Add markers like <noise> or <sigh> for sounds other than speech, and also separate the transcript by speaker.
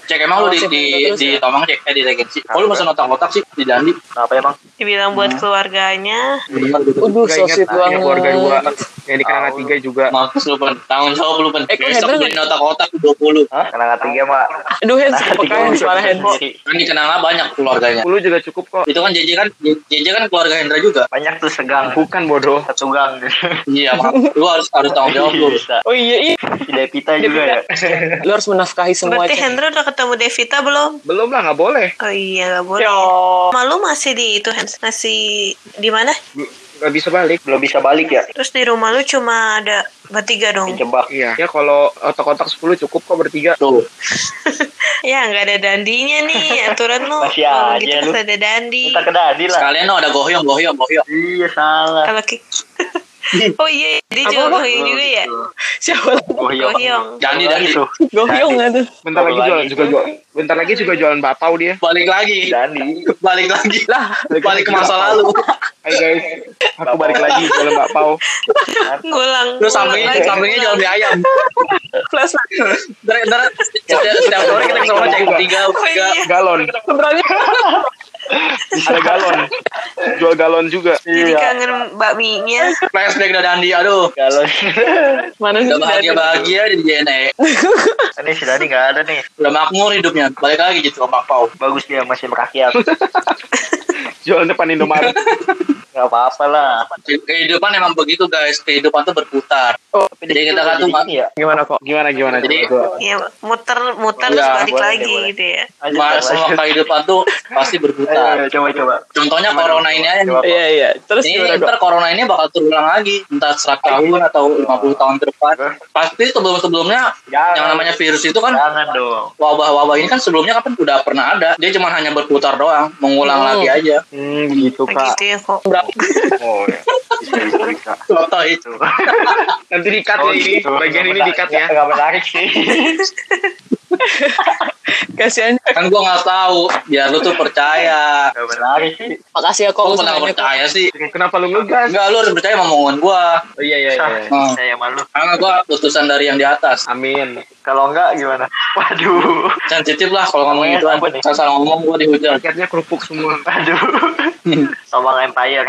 Speaker 1: Cek emang
Speaker 2: Oh,
Speaker 1: lu di
Speaker 2: sih,
Speaker 1: di,
Speaker 2: terus
Speaker 1: di
Speaker 2: ya.
Speaker 1: Tomang cek eh di regensi. Kok lu
Speaker 3: Apa?
Speaker 1: mesen otak-otak sih di Dandi?
Speaker 3: Kenapa emang?
Speaker 4: Dibilang buat
Speaker 1: Hmm.
Speaker 4: keluarganya.
Speaker 1: Bener gitu.
Speaker 2: Waduh,
Speaker 5: Gak inget,
Speaker 2: sosit
Speaker 5: yang keluarga dua,
Speaker 2: banget.
Speaker 5: yang di kenangan tiga juga.
Speaker 1: Mampus lu pen. Tanggung jawab lu pen.
Speaker 2: Eh, kok
Speaker 1: Besok
Speaker 2: header
Speaker 1: beliin otak-otak 20.
Speaker 3: Kenangan tiga mah.
Speaker 2: Aduh, hands
Speaker 3: Nah,
Speaker 2: kepekaan suara hands.
Speaker 1: Kan dikenalnya banyak keluarganya.
Speaker 5: Sepuluh juga cukup kok.
Speaker 1: Itu kan JJ kan JJ kan keluarga Hendra juga.
Speaker 3: Banyak tuh segang.
Speaker 5: Bukan bodoh.
Speaker 3: Satu gang. <laughs>
Speaker 1: Iya, Mak. lu harus harus tanggung jawab lu.
Speaker 3: Bisa.
Speaker 2: Oh iya, iya.
Speaker 3: Devita juga ya.
Speaker 2: Lu harus menafkahi semua.
Speaker 4: Berarti
Speaker 2: Cek.
Speaker 4: Hendra udah ketemu Devita belum?
Speaker 5: Belum lah, nggak boleh.
Speaker 4: Oh iya, gak boleh.
Speaker 2: Yo.
Speaker 4: Malu masih di itu, Hans. Masih di mana?
Speaker 5: Nggak bisa balik.
Speaker 3: Belum bisa balik ya.
Speaker 4: Terus di rumah lu cuma ada bertiga dong.
Speaker 3: Dijebak.
Speaker 5: Iya. Ya kalau otak-otak 10 cukup kok bertiga.
Speaker 1: Tuh.
Speaker 4: Ya, nggak ada dandinya
Speaker 3: <laughs>
Speaker 4: nih. Aturan lu.
Speaker 3: Masih
Speaker 4: Kalau
Speaker 3: aja
Speaker 4: gitu
Speaker 3: lu.
Speaker 4: harus ada dandi.
Speaker 3: Kita ke Dadi lah.
Speaker 1: Sekalian lu ada goyong, goyong, goyong.
Speaker 3: Iya salah.
Speaker 4: Kalau
Speaker 3: <laughs>
Speaker 4: ki- Oh iya, dia juga goyong juga ya.
Speaker 2: Siapa lagi?
Speaker 3: iya,
Speaker 4: Goyong.
Speaker 1: Dandi Dandi.
Speaker 3: tuh.
Speaker 2: Goyong nggak tuh?
Speaker 5: Bentar
Speaker 3: Apa
Speaker 5: lagi jualan
Speaker 3: lagi?
Speaker 5: juga jual. Bentar lagi juga jualan batau dia.
Speaker 1: Balik lagi.
Speaker 3: Dandi.
Speaker 1: Balik lagi.
Speaker 2: Lah,
Speaker 1: Balik ke masa lalu.
Speaker 5: Hai guys, aku balik lagi jualan bakpao.
Speaker 4: Ngulang.
Speaker 1: Lu sampingnya
Speaker 4: ngulang lagi,
Speaker 1: sampingnya jual mie
Speaker 4: ngulang.
Speaker 1: ayam.
Speaker 2: flash lah.
Speaker 1: Ntar ntar setiap setiap sore kita ke rumah cek tiga
Speaker 4: Oh
Speaker 1: tiga
Speaker 4: iya.
Speaker 5: Galon,
Speaker 2: Sebenarnya
Speaker 5: ada galon. Jual galon juga.
Speaker 3: Iya.
Speaker 4: Jadi kangen bakminya.
Speaker 1: flashback dari Dandi. Aduh.
Speaker 3: Kalau
Speaker 2: mana sih?
Speaker 1: Udah bahagia bahagia di DNA.
Speaker 3: ini si Dadi nggak ada nih.
Speaker 1: ya. Udah makmur hidupnya. Balik lagi gitu sama Pau.
Speaker 3: Bagus dia masih merakyat.
Speaker 5: Jualan depan Indomaret.
Speaker 3: Gak apa-apa lah.
Speaker 1: Kehidupan emang begitu guys. Kehidupan tuh berputar.
Speaker 3: Tapi
Speaker 1: Jadi kita
Speaker 3: kan
Speaker 1: kan tuh
Speaker 3: ya.
Speaker 5: Gimana kok? Gimana gimana?
Speaker 1: Jadi-
Speaker 5: coba?
Speaker 4: Ya, muter muter terus
Speaker 1: Iya,
Speaker 4: balik
Speaker 3: boleh,
Speaker 4: lagi
Speaker 3: boleh.
Speaker 4: gitu ya.
Speaker 3: Lanjut,
Speaker 1: Ma-
Speaker 3: lanjut.
Speaker 1: semua kehidupan tuh pasti
Speaker 5: Nah,
Speaker 3: Ayo,
Speaker 5: Ya,
Speaker 3: ayo,
Speaker 1: berputar.
Speaker 3: coba coba.
Speaker 1: Contohnya corona ini aja.
Speaker 3: Coba.
Speaker 2: Iya iya. Terus
Speaker 1: Ini
Speaker 2: gimana kok?
Speaker 1: ntar corona ini bakal terulang lagi entah 100 tahun atau 50 tahun ke depan. Pasti sebelum-sebelumnya
Speaker 5: Ya,
Speaker 3: Jangan.
Speaker 1: yang namanya virus itu kan
Speaker 3: Jangan dong.
Speaker 1: wabah-wabah ini kan sebelumnya kapan udah pernah ada. Dia cuma hanya berputar doang, mengulang
Speaker 2: Hmm.
Speaker 1: lagi aja.
Speaker 5: Hmm, gitu kak.
Speaker 4: Begitu ya kok.
Speaker 3: Oh ya. Bisa bisa bisa.
Speaker 1: Contoh itu.
Speaker 3: Tuh.
Speaker 5: Nanti dikat
Speaker 3: Oh,
Speaker 5: ya ini.
Speaker 3: gitu.
Speaker 5: Bagian ini
Speaker 3: Nggak-
Speaker 5: dikat ya.
Speaker 3: nggak- Nggak menarik sih.
Speaker 2: Kasihan.
Speaker 1: Kan gua nggak tahu. Biar lu tuh percaya.
Speaker 3: Gak menarik sih.
Speaker 2: Makasih ya kok
Speaker 1: Kok lu nggak
Speaker 2: usahanya kok.
Speaker 1: percaya sih?
Speaker 5: Kenapa lu ngegas?
Speaker 1: Enggak, lu harus percaya sama omongan gua.
Speaker 5: Oh, iya iya iya.
Speaker 1: Hmm.
Speaker 3: Saya malu.
Speaker 1: Karena gua utusan dari yang di atas.
Speaker 5: Amin.
Speaker 3: Kalau enggak gimana? Waduh.
Speaker 1: Sensitif lah kalau ngomong
Speaker 3: Ngomongnya
Speaker 1: gitu kan.
Speaker 3: apa nih?
Speaker 1: Salah ngomong gua dihujat.
Speaker 5: Tiketnya kerupuk semua.
Speaker 3: Waduh. Tomang Empire.